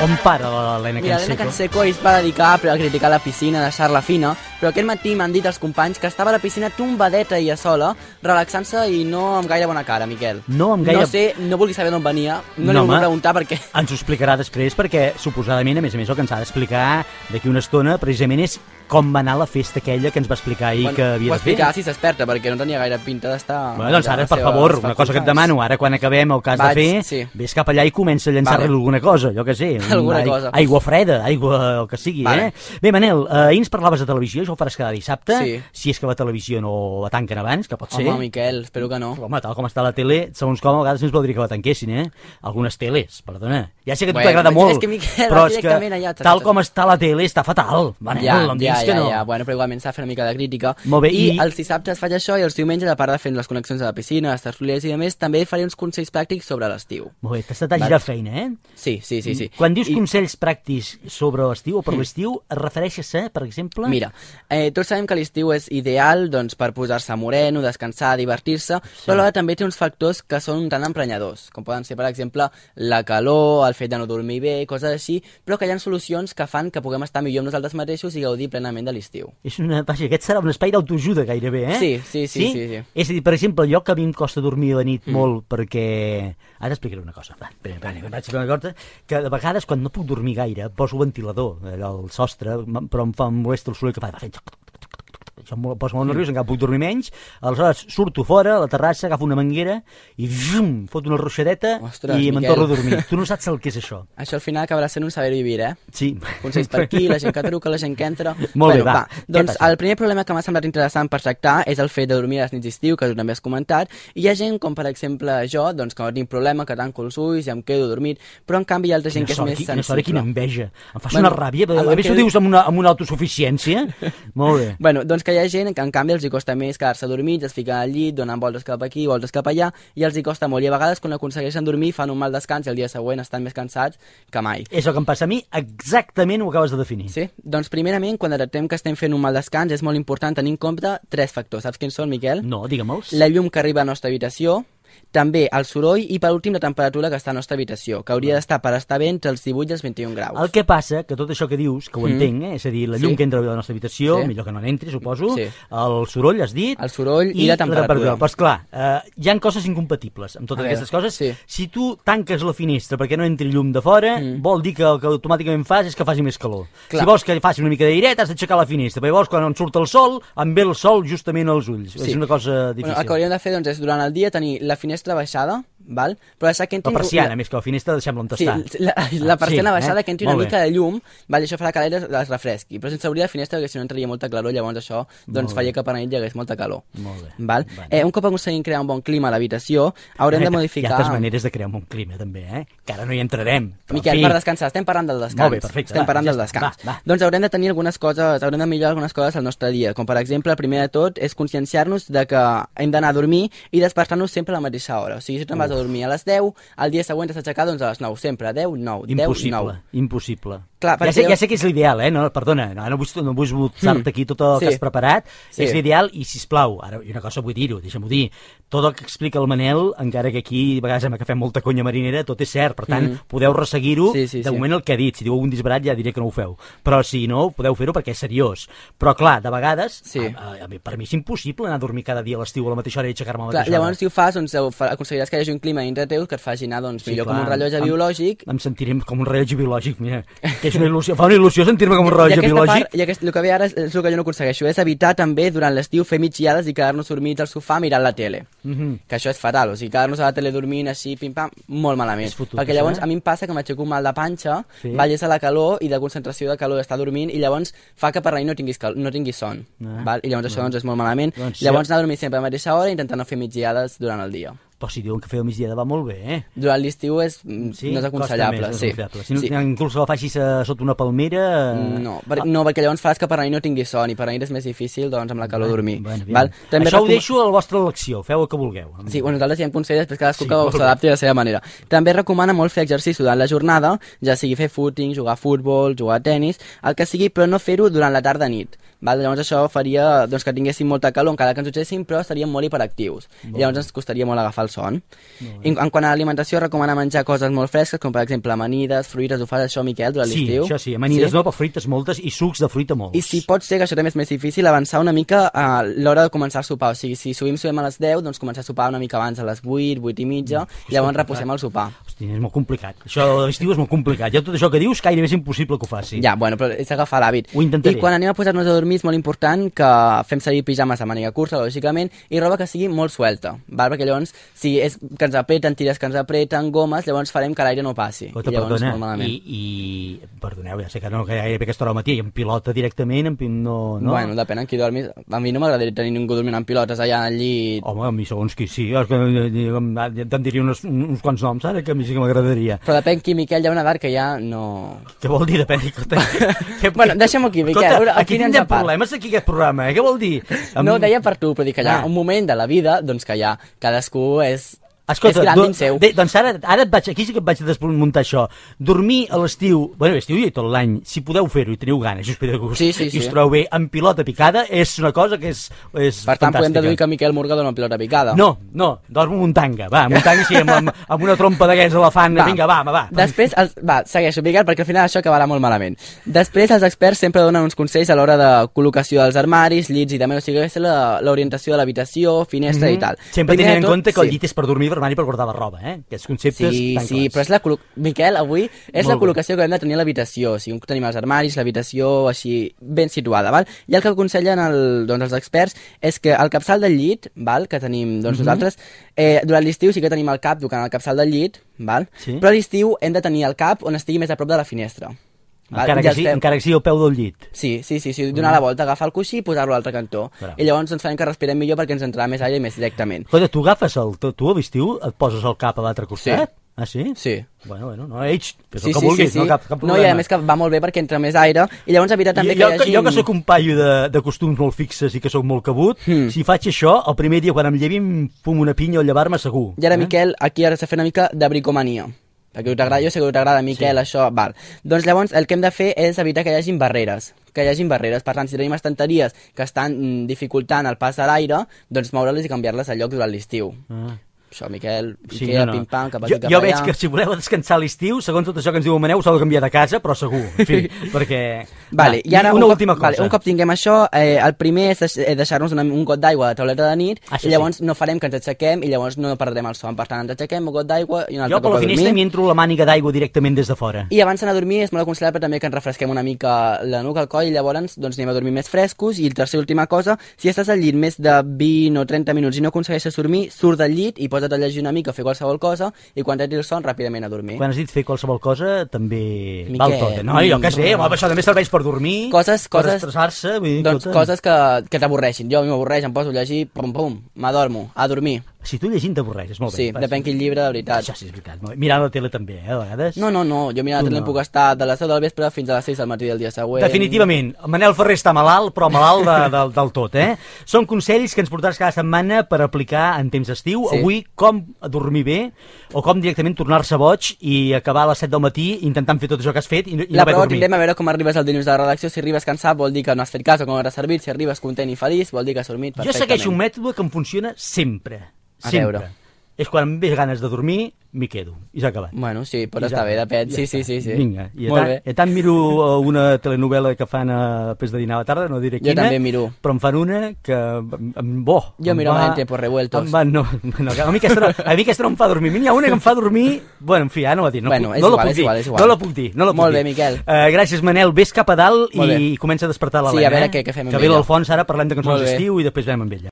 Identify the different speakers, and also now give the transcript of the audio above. Speaker 1: On para l'Helena
Speaker 2: Mira, Elena
Speaker 1: Canseco?
Speaker 2: Canseco ahir es va dedicar a criticar la piscina, deixar-la fina, però aquest matí m'han dit els companys que estava a la piscina tombadeta i a sola, relaxant-se i no amb gaire bona cara, Miquel.
Speaker 1: No amb gaire-
Speaker 2: No sé, no vulgui saber d'on venia, no,
Speaker 1: No,
Speaker 2: li
Speaker 1: home.
Speaker 2: vull preguntar perquè...
Speaker 1: Ens ho explicarà després perquè, suposadament, a més a més, el que ens ha d'explicar d'aquí una estona precisament és com va anar la festa aquella que ens va explicar ahir que havia
Speaker 2: ho
Speaker 1: de fer.
Speaker 2: explicar si s'experta, perquè no tenia gaire pinta d'estar...
Speaker 1: Bueno, doncs
Speaker 2: allà a
Speaker 1: ara,
Speaker 2: les
Speaker 1: per
Speaker 2: seves
Speaker 1: favor, una cosa que et
Speaker 2: facultats.
Speaker 1: demano, ara quan acabem el cas
Speaker 2: Vaig,
Speaker 1: de fer,
Speaker 2: sí.
Speaker 1: vés cap allà i comença a llançar-li
Speaker 2: Vale.
Speaker 1: alguna cosa, jo que sé. un-
Speaker 2: Alguna
Speaker 1: ai-
Speaker 2: cosa.
Speaker 1: Aigua freda, aigua, el que sigui,
Speaker 2: Vale.
Speaker 1: eh? Bé, Manel, eh, ahir ens parlaves de televisió, això ho faràs cada dissabte,
Speaker 2: Sí.
Speaker 1: si és que la televisió no la tanquen abans, que pot ser.
Speaker 2: Home, Miquel, espero que no.
Speaker 1: Home, tal com està la tele, segons com, a vegades ens voldria que la tanquessin, eh? Algunes teles, perdona. Ja sé que a tu
Speaker 2: Bueno,
Speaker 1: t'agrada
Speaker 2: és
Speaker 1: molt,
Speaker 2: que, Miquel,
Speaker 1: però
Speaker 2: vas
Speaker 1: és que
Speaker 2: directament allà, t'has-
Speaker 1: tal com està la tele està fatal. Manel,
Speaker 2: Ja,
Speaker 1: no em
Speaker 2: ja,
Speaker 1: diguis
Speaker 2: ja,
Speaker 1: que no.
Speaker 2: ja, bueno, però igualment s'ha fet una mica de crítica.
Speaker 1: Molt bé,
Speaker 2: I,
Speaker 1: i-
Speaker 2: els dissabtes faig això i els diumenges, a part de fent les connexions a la piscina, les tertúlies i demés, també faré uns consells pràctics sobre l'estiu.
Speaker 1: Molt bé, t'has estat a girar feina, eh?
Speaker 2: Sí, sí, sí, sí.
Speaker 1: Quan dius
Speaker 2: I-
Speaker 1: consells pràctics sobre l'estiu o per l'estiu, et refereixes a, per exemple...
Speaker 2: Mira, eh, tots sabem que l'estiu és ideal doncs, per posar-se moreno, descansar, divertir-se, sí. però alhora també té uns factors que són un tant emprenyadors, com poden ser, per exemple, la calor, el fet de no dormir bé, coses així, però que hi ha solucions que fan que puguem estar millor amb nosaltres mateixos i gaudir plenament de l'estiu.
Speaker 1: És una... Vaja, aquest serà un espai d'autoajuda gairebé, eh?
Speaker 2: Sí, sí, sí, sí, sí.
Speaker 1: És a dir, per exemple, jo que a mi em costa dormir a la nit mm. molt perquè... Ara t'explicaré una cosa. Va, espera, espera, espera, vaig fer una cosa, que de vegades quan no puc dormir gaire poso ventilador allò al sostre, m- però em fa em molesta el soroll que fa. va fent toc, toc, toc, toc, toc, toc. Això em posa
Speaker 2: Mm.
Speaker 1: molt nerviós, encara puc dormir menys. Aleshores, surto fora, a la terrassa, agafo una manguera i zum, fot una ruixadeta
Speaker 2: Ostres,
Speaker 1: i me'n
Speaker 2: Miquel.
Speaker 1: torno a dormir. Tu no saps el que és això.
Speaker 2: Això al final acabarà sent un saber vivir, eh?
Speaker 1: Sí.
Speaker 2: Consells per aquí, la gent que truca, la gent que entra...
Speaker 1: Molt bé, va. Què
Speaker 2: Doncs
Speaker 1: passa?
Speaker 2: el primer problema que m'ha semblat interessant per tractar és el fet de dormir a les nits d'estiu, que tu també has comentat, i hi ha gent, com per exemple jo, doncs, que no tinc problema, que tanco els ulls i em quedo dormit, però en canvi hi ha altra gent
Speaker 1: Quina
Speaker 2: que és
Speaker 1: sort,
Speaker 2: més
Speaker 1: qui- quina sort,
Speaker 2: sensible.
Speaker 1: i quina enveja. Em fas
Speaker 2: Bueno,
Speaker 1: una ràbia,
Speaker 2: el-
Speaker 1: a
Speaker 2: el
Speaker 1: més
Speaker 2: que
Speaker 1: ho
Speaker 2: diu-
Speaker 1: dius amb una, amb una autosuficiència. Molt bé.
Speaker 2: Bueno, doncs que hi ha gent que en canvi els hi costa més quedar-se dormits, es fiquen al llit, donen voltes cap aquí, voltes cap allà, i els hi costa molt. I a vegades quan aconsegueixen dormir fan un mal descans i el dia següent estan més cansats que mai.
Speaker 1: És el que em passa a mi, exactament ho acabes de definir.
Speaker 2: Sí, doncs primerament, quan detectem que estem fent un mal descans, és molt important tenir en compte tres factors. Saps quins són, Miquel?
Speaker 1: No, digue'm-els.
Speaker 2: La llum que arriba a la nostra habitació, també el soroll i, per últim, la temperatura que està a la nostra habitació, que hauria d'estar per estar bé entre els 18 i els 21 graus.
Speaker 1: El que passa, que tot això que dius, que ho entenc, eh? és a dir, la llum
Speaker 2: Mm. Sí.
Speaker 1: que entra a la nostra habitació,
Speaker 2: Sí.
Speaker 1: millor que no n'entri, suposo,
Speaker 2: Sí.
Speaker 1: el soroll, has dit...
Speaker 2: El soroll i la temperatura.
Speaker 1: Però, esclar, eh, hi han coses incompatibles amb totes
Speaker 2: A veure,
Speaker 1: aquestes coses.
Speaker 2: sí.
Speaker 1: Si tu tanques la finestra perquè no entri llum de fora, vol dir que el que automàticament fas és que faci més calor.
Speaker 2: Mm. Clar.
Speaker 1: Si vols que faci una mica d'airet, has d'aixecar la finestra, perquè llavors quan en surt el sol, em ve el sol justament als ulls.
Speaker 2: Sí.
Speaker 1: És una cosa difícil.
Speaker 2: Bueno, el que hauríem de fer doncs, és durant el dia tenir la finestra baixada, val? però deixar que entri...
Speaker 1: La persiana, més que la finestra, deixem-la on
Speaker 2: Sí,
Speaker 1: està.
Speaker 2: la, la
Speaker 1: sí,
Speaker 2: persiana
Speaker 1: eh?
Speaker 2: baixada que entri una
Speaker 1: Molt bé.
Speaker 2: mica de llum, val? I això farà que l'aire es refresqui, però sense obrir la finestra perquè si no entraria molta calor, llavors això doncs, faria que per la nit hi hagués molta calor.
Speaker 1: Molt bé.
Speaker 2: Val?
Speaker 1: Vale.
Speaker 2: Eh, un cop aconseguim crear un bon clima a l'habitació, haurem de
Speaker 1: Hi ha
Speaker 2: modificar...
Speaker 1: altres maneres de crear un bon clima, també, eh? Que ara no hi entrarem. Però,
Speaker 2: Miquel,
Speaker 1: en fi,
Speaker 2: per descansar, estem parlant del descans.
Speaker 1: Molt bé, perfecte,
Speaker 2: Estem
Speaker 1: va,
Speaker 2: parlant
Speaker 1: ja
Speaker 2: del
Speaker 1: està,
Speaker 2: descans.
Speaker 1: va, va.
Speaker 2: Doncs haurem de tenir algunes coses, haurem de millorar algunes coses al nostre dia, com per exemple, el primer de tot és conscienciar-nos de que hem d'anar a dormir i despertar-nos sempre a la mateixa hora. O sigui, si tu te'n vas a dormir a les 10, el dia següent t'has d'aixecar doncs, a les 9, sempre, 10, 9, 10,
Speaker 1: Impossible,
Speaker 2: 9.
Speaker 1: impossible.
Speaker 2: Clar,
Speaker 1: ja,
Speaker 2: perquè
Speaker 1: sé, ja
Speaker 2: llavors-
Speaker 1: sé que és l'ideal, eh? No, perdona, no, no vull, no vull botzar-te aquí tot el
Speaker 2: Sí.
Speaker 1: que has preparat.
Speaker 2: Sí.
Speaker 1: És l'ideal i, si plau, ara i una cosa vull dir-ho, deixa'm-ho dir, tot el que explica el Manel, encara que aquí a vegades amb que fem molta conya marinera, tot és cert, per tant, podeu resseguir-ho
Speaker 2: Hmm. Sí, sí,
Speaker 1: de
Speaker 2: sí.
Speaker 1: moment el que ha dit. Si diu un disbarat ja diré que no ho feu. Però si no, podeu fer-ho perquè és seriós. Però clar, de vegades,
Speaker 2: Sí.
Speaker 1: a, a, a, mi- per mi és impossible anar a dormir cada dia a l'estiu a la mateixa hora i aixecar-me a la
Speaker 2: Clar,
Speaker 1: mateixa hora.
Speaker 2: llavors, si ho fas, doncs, ho fa- aconseguiràs que hi hagi un clima dintre teu que et faci anar doncs, millor com un rellotge
Speaker 1: em,
Speaker 2: biològic
Speaker 1: Em sentirem com un rellotge biològic, mira. Que és una il·lusió, fa una il·lusió sentir-me com un
Speaker 2: I
Speaker 1: rellotge
Speaker 2: aquesta part,
Speaker 1: biològic.
Speaker 2: i aquest, el que ve ara és, és el que jo no aconsegueixo, és evitar també durant l'estiu fer migdiades i quedar-nos dormits al sofà mirant la tele. Mm
Speaker 1: Mhm.
Speaker 2: -hmm. Que això és fatal, o sigui, quedar-nos a la tele dormint així, pim-pam, molt malament.
Speaker 1: És fotut,
Speaker 2: Perquè
Speaker 1: això,
Speaker 2: llavors
Speaker 1: eh?
Speaker 2: a mi em passa que m'aixeco mal de panxa,
Speaker 1: Sí.
Speaker 2: sí. balles a la calor i de concentració de calor d'estar dormint i llavors fa que per la nit no tinguis, cal no tinguis son.
Speaker 1: Ah.
Speaker 2: Ah. Val? I llavors això doncs, és molt malament.
Speaker 1: Doncs
Speaker 2: Doncs,
Speaker 1: sí.
Speaker 2: llavors anar a dormir sempre a la mateixa hora i intentar no fer migdiades durant el dia.
Speaker 1: Però si diuen que fer el migdia va molt bé, eh?
Speaker 2: Durant l'estiu és, sí? no és aconsellable.
Speaker 1: costa més, no és
Speaker 2: sí.
Speaker 1: aconsellable. Si no, sí. inclús que la facis eh, sota una palmera... eh,
Speaker 2: Mm, No, per, no, perquè llavors faràs que per la nit no tinguis son i per la nit és més difícil doncs, amb la calor dormir.
Speaker 1: Bueno, aviam.
Speaker 2: val? També
Speaker 1: Això ho
Speaker 2: recom-
Speaker 1: deixo a la vostra elecció, feu el que vulgueu.
Speaker 2: Sí, bueno, nosaltres hi hem consells, després
Speaker 1: Sí,
Speaker 2: cadascú sí, que
Speaker 1: molt bé.
Speaker 2: s'adapti de la seva manera. També recomana molt fer exercici durant la jornada, ja sigui fer footing, jugar a futbol, jugar a tennis, el que sigui, però no fer-ho durant la tarda nit. Val? Llavors això faria doncs, que tinguéssim molta calor, encara que ens dutxéssim, però estaríem molt hiperactius. I llavors ens costaria molt agafar el son. I en quant a l'alimentació, recomana menjar coses molt fresques, com per exemple amanides, fruites, ho fas això, Miquel, durant
Speaker 1: sí,
Speaker 2: l'estiu?
Speaker 1: això sí, amanides sí? no, però fruites moltes i sucs de fruita molts.
Speaker 2: I si pot ser, que això també és més difícil, avançar una mica a l'hora de començar a sopar. O sigui, si sovim sovem a les 10, doncs començar a sopar una mica abans, a les 8, 8 i
Speaker 1: Mm,
Speaker 2: mitja, llavors reposem el sopar.
Speaker 1: Hosti, és molt complicat. Això de l'estiu és molt complicat. Ja tot això que dius, gairebé és impossible que ho faci.
Speaker 2: Ja, bueno, però és agafar l'hàbit.
Speaker 1: Ho intentaré.
Speaker 2: I quan anem a posar-nos a dormir és molt important que fem servir pijames de màniga curta, lògicament, i roba que sigui molt suelta, val? perquè llavors, si és que ens apreten, tires que ens apreten, gomes, llavors farem que l'aire no passi.
Speaker 1: Escolta,
Speaker 2: I llavors,
Speaker 1: perdona,
Speaker 2: molt malament.
Speaker 1: i, i, perdoneu, ja sé que no, que gairebé aquesta hora al matí, i en pilota directament, en, pi- no, no.
Speaker 2: Bueno, depèn en qui dormis. A mi no m'agradaria tenir ningú dormint amb pilotes allà al llit.
Speaker 1: Home, a mi segons qui sí, és que eh, eh, te'n diria uns, uns quants noms ara, que a mi sí que m'agradaria.
Speaker 2: Però depèn qui, Miquel, hi ha una edat que ja no...
Speaker 1: Què vol dir, depèn de què... què-
Speaker 2: Bueno, deixem-ho aquí, Miquel, a veure,
Speaker 1: Escolta,
Speaker 2: a
Speaker 1: aquí
Speaker 2: quina ens
Speaker 1: tindrem
Speaker 2: apart?
Speaker 1: problemes, aquí, aquest programa, eh? Què vol dir? Em-
Speaker 2: No, deia per tu, però dic que hi ha
Speaker 1: Ah.
Speaker 2: un moment de la vida doncs, que ja cadascú és,
Speaker 1: Escolta,
Speaker 2: és gran
Speaker 1: do-
Speaker 2: dins seu.
Speaker 1: bé, doncs ara, ara et vaig, aquí sí que et vaig desmuntar això. Dormir a l'estiu, bueno, a l'estiu i tot l'any, si podeu fer-ho i teniu ganes, i us ve de gust,
Speaker 2: Sí, sí,
Speaker 1: i us
Speaker 2: sí.
Speaker 1: trobeu bé amb pilota picada, és una cosa que és, és
Speaker 2: Per tant, podem
Speaker 1: fantàstica.
Speaker 2: deduir que Miquel Murga dona pilota picada.
Speaker 1: No, no, dormo amb un tanga, va, amb un tanga sí, amb, amb, amb una trompa d'aquests elefant, va. vinga, va, va, va.
Speaker 2: Després, els, va, segueixo, Miquel, perquè al final això acabarà molt malament. Després, els experts sempre donen uns consells a l'hora de col·locació dels armaris, llits i també, o sigui, aquesta és la- l'orientació de l'habitació, finestra i tal.
Speaker 1: Sempre
Speaker 2: Primer de
Speaker 1: tenint en
Speaker 2: tot,
Speaker 1: compte que el
Speaker 2: sí.
Speaker 1: llit és per dormir, per armari, per guardar la roba, eh? Aquests conceptes
Speaker 2: Sí,
Speaker 1: tan
Speaker 2: sí,
Speaker 1: clars.
Speaker 2: però és la col·lo- Miquel, avui és
Speaker 1: Molt
Speaker 2: la
Speaker 1: bé.
Speaker 2: col·locació que hem de tenir a l'habitació. O sigui, tenim els armaris, l'habitació així ben situada, val? I el que aconsellen el, doncs, els experts és que el capçal del llit, val? que tenim
Speaker 1: Mhm.
Speaker 2: doncs, nosaltres, eh, durant l'estiu sí que tenim el cap tocant el capçal del llit, val?
Speaker 1: Sí.
Speaker 2: però a l'estiu hem de tenir el cap on estigui més a prop de la finestra. Val?
Speaker 1: Encara,
Speaker 2: Ja
Speaker 1: que sí,
Speaker 2: estem-
Speaker 1: encara Mhm. que sigui al peu del llit.
Speaker 2: Sí, sí, sí, sí, donar la volta, agafar el coixí i posar-lo a l'altre cantó.
Speaker 1: Bravo.
Speaker 2: I llavors ens farem que respirem millor perquè ens entrarà més aire i més directament.
Speaker 1: Escolta, tu agafes el... Tu, tu a l'estiu et poses el cap a l'altre costat?
Speaker 2: Sí.
Speaker 1: Ah, sí?
Speaker 2: Sí.
Speaker 1: Bueno, bueno, no, eix, fes el que vulguis, no cap, cap
Speaker 2: no,
Speaker 1: problema.
Speaker 2: i a més que va molt bé perquè entra més aire i llavors evitar també
Speaker 1: jo,
Speaker 2: que hi hagi...
Speaker 1: jo que sóc un paio de, de costums molt fixes i que sóc molt cabut,
Speaker 2: Hmm.
Speaker 1: si faig això, el primer dia quan em llevi em fumo una pinya o llevar-me segur.
Speaker 2: I ara, Miquel, aquí ara s'ha fet una mica de bricomania. Perquè t'agrada, jo sé que t'agrada, Miquel, sí. això, val. Doncs llavors el que hem de fer és evitar que hi hagin barreres. Que hi hagin barreres. Per tant, si tenim estanteries que estan mm, dificultant el pas de l'aire, doncs moure-les i canviar-les al lloc durant l'estiu.
Speaker 1: Ah.
Speaker 2: Això, Miquel,
Speaker 1: Sí, no,
Speaker 2: Ikea,
Speaker 1: no.
Speaker 2: pim-pam, cap aquí,
Speaker 1: jo,
Speaker 2: cap
Speaker 1: jo
Speaker 2: allà.
Speaker 1: veig que si voleu descansar a l'estiu, segons tot això que ens diu Maneu, s'ha de canviar de casa, però segur. En fi, perquè...
Speaker 2: Vale,
Speaker 1: Va,
Speaker 2: i ara
Speaker 1: una
Speaker 2: un
Speaker 1: última
Speaker 2: cop,
Speaker 1: cosa.
Speaker 2: Vale, un cop tinguem això, eh, el primer és deix- eh, deixar-nos una- un got d'aigua a la tauleta de nit
Speaker 1: Ah, això
Speaker 2: i llavors no farem que ens aixequem i llavors no perdrem el son. Per tant, ens aixequem, un got d'aigua i un altre
Speaker 1: Jo per
Speaker 2: cop
Speaker 1: la
Speaker 2: a
Speaker 1: finestra m'hi
Speaker 2: dormir.
Speaker 1: entro la màniga d'aigua directament des de fora.
Speaker 2: I abans d'anar a dormir és molt aconsellable també que ens refresquem una mica la nuca, el coll i llavors doncs, anem a dormir més frescos. I el tercer i última cosa, si estàs al llit més de 20 o 30 minuts i no aconsegueixes dormir, surt del llit i posa't a llegir una mica o fer qualsevol cosa i quan et el son ràpidament a dormir.
Speaker 1: Quan has dit fer qualsevol cosa, també
Speaker 2: Miquel,
Speaker 1: val tot. eh? No, jo què sé,
Speaker 2: mm.
Speaker 1: home, això també serveix per dormir,
Speaker 2: coses,
Speaker 1: per
Speaker 2: coses,
Speaker 1: estressar-se... vull dir,
Speaker 2: doncs,
Speaker 1: escolta,
Speaker 2: coses que, que t'avorreixin. Jo a mi m'avorreix, em poso a llegir, pum, pum, m'adormo, a dormir.
Speaker 1: Si tu llegint t'avorreixes, molt bé.
Speaker 2: Sí,
Speaker 1: vas.
Speaker 2: depèn quin llibre, de veritat.
Speaker 1: Això sí, és veritat. molt bé. Mirant la tele també, eh, a vegades.
Speaker 2: No, no, no, jo mira,
Speaker 1: Tu
Speaker 2: la tele
Speaker 1: no.
Speaker 2: no. puc estar de les 10 del vespre fins a les 6 del matí del dia següent.
Speaker 1: Definitivament, el Manel Ferrer està malalt, però malalt de, de, del tot, eh? Són consells que ens portaràs cada setmana per aplicar en temps estiu.
Speaker 2: Sí.
Speaker 1: Avui, com dormir bé, o com directament tornar-se boig i acabar a les 7 del matí intentant fer tot això que has fet i, no- i
Speaker 2: La
Speaker 1: no haver
Speaker 2: prova
Speaker 1: dormit.
Speaker 2: tindrem a veure com arribes al dilluns de la redacció. Si arribes cansat vol dir que no has fet cas o que no has servit. Si arribes content i feliç vol dir que has dormit
Speaker 1: Jo
Speaker 2: perfectament.
Speaker 1: segueixo un mètode que em funciona sempre.
Speaker 2: A
Speaker 1: Sempre.
Speaker 2: veure.
Speaker 1: és quan amb més ganes de dormir m'hi quedo i s'ha acabat.
Speaker 2: Bueno, sí, pot estar bé, depèn. Sí, sí, sí, sí.
Speaker 1: Vinga, i a
Speaker 2: Molt
Speaker 1: tant,
Speaker 2: bé.
Speaker 1: a tant miro eh, una telenovela que fan a pes de dinar a la tarda, no diré
Speaker 2: Jo
Speaker 1: quina.
Speaker 2: també miro.
Speaker 1: Però en fan una que... em- em- Bo,
Speaker 2: Jo
Speaker 1: em
Speaker 2: miro
Speaker 1: va-
Speaker 2: Mal en tiempos revueltos.
Speaker 1: Em va, no, no, a mi aquesta no, a mi aquesta no em fa dormir. A mi n'hi ha una que em fa dormir... Bueno, en fi, ara no la dic. No,
Speaker 2: Bueno,
Speaker 1: puc-
Speaker 2: és
Speaker 1: no
Speaker 2: igual,
Speaker 1: la puc
Speaker 2: és
Speaker 1: dir,
Speaker 2: igual, és igual.
Speaker 1: No la puc dir. No la puc
Speaker 2: Molt
Speaker 1: dir.
Speaker 2: bé, Miquel.
Speaker 1: Eh, gràcies, Manel. Ves cap a dalt
Speaker 2: Molt
Speaker 1: i comença a despertar l'Helena.
Speaker 2: Sí, a veure
Speaker 1: eh?
Speaker 2: què- què fem amb
Speaker 1: Que ve
Speaker 2: ella.
Speaker 1: l'Alfons ara parlant de cançons
Speaker 2: Molt bé.
Speaker 1: d'estiu i després veiem amb ella.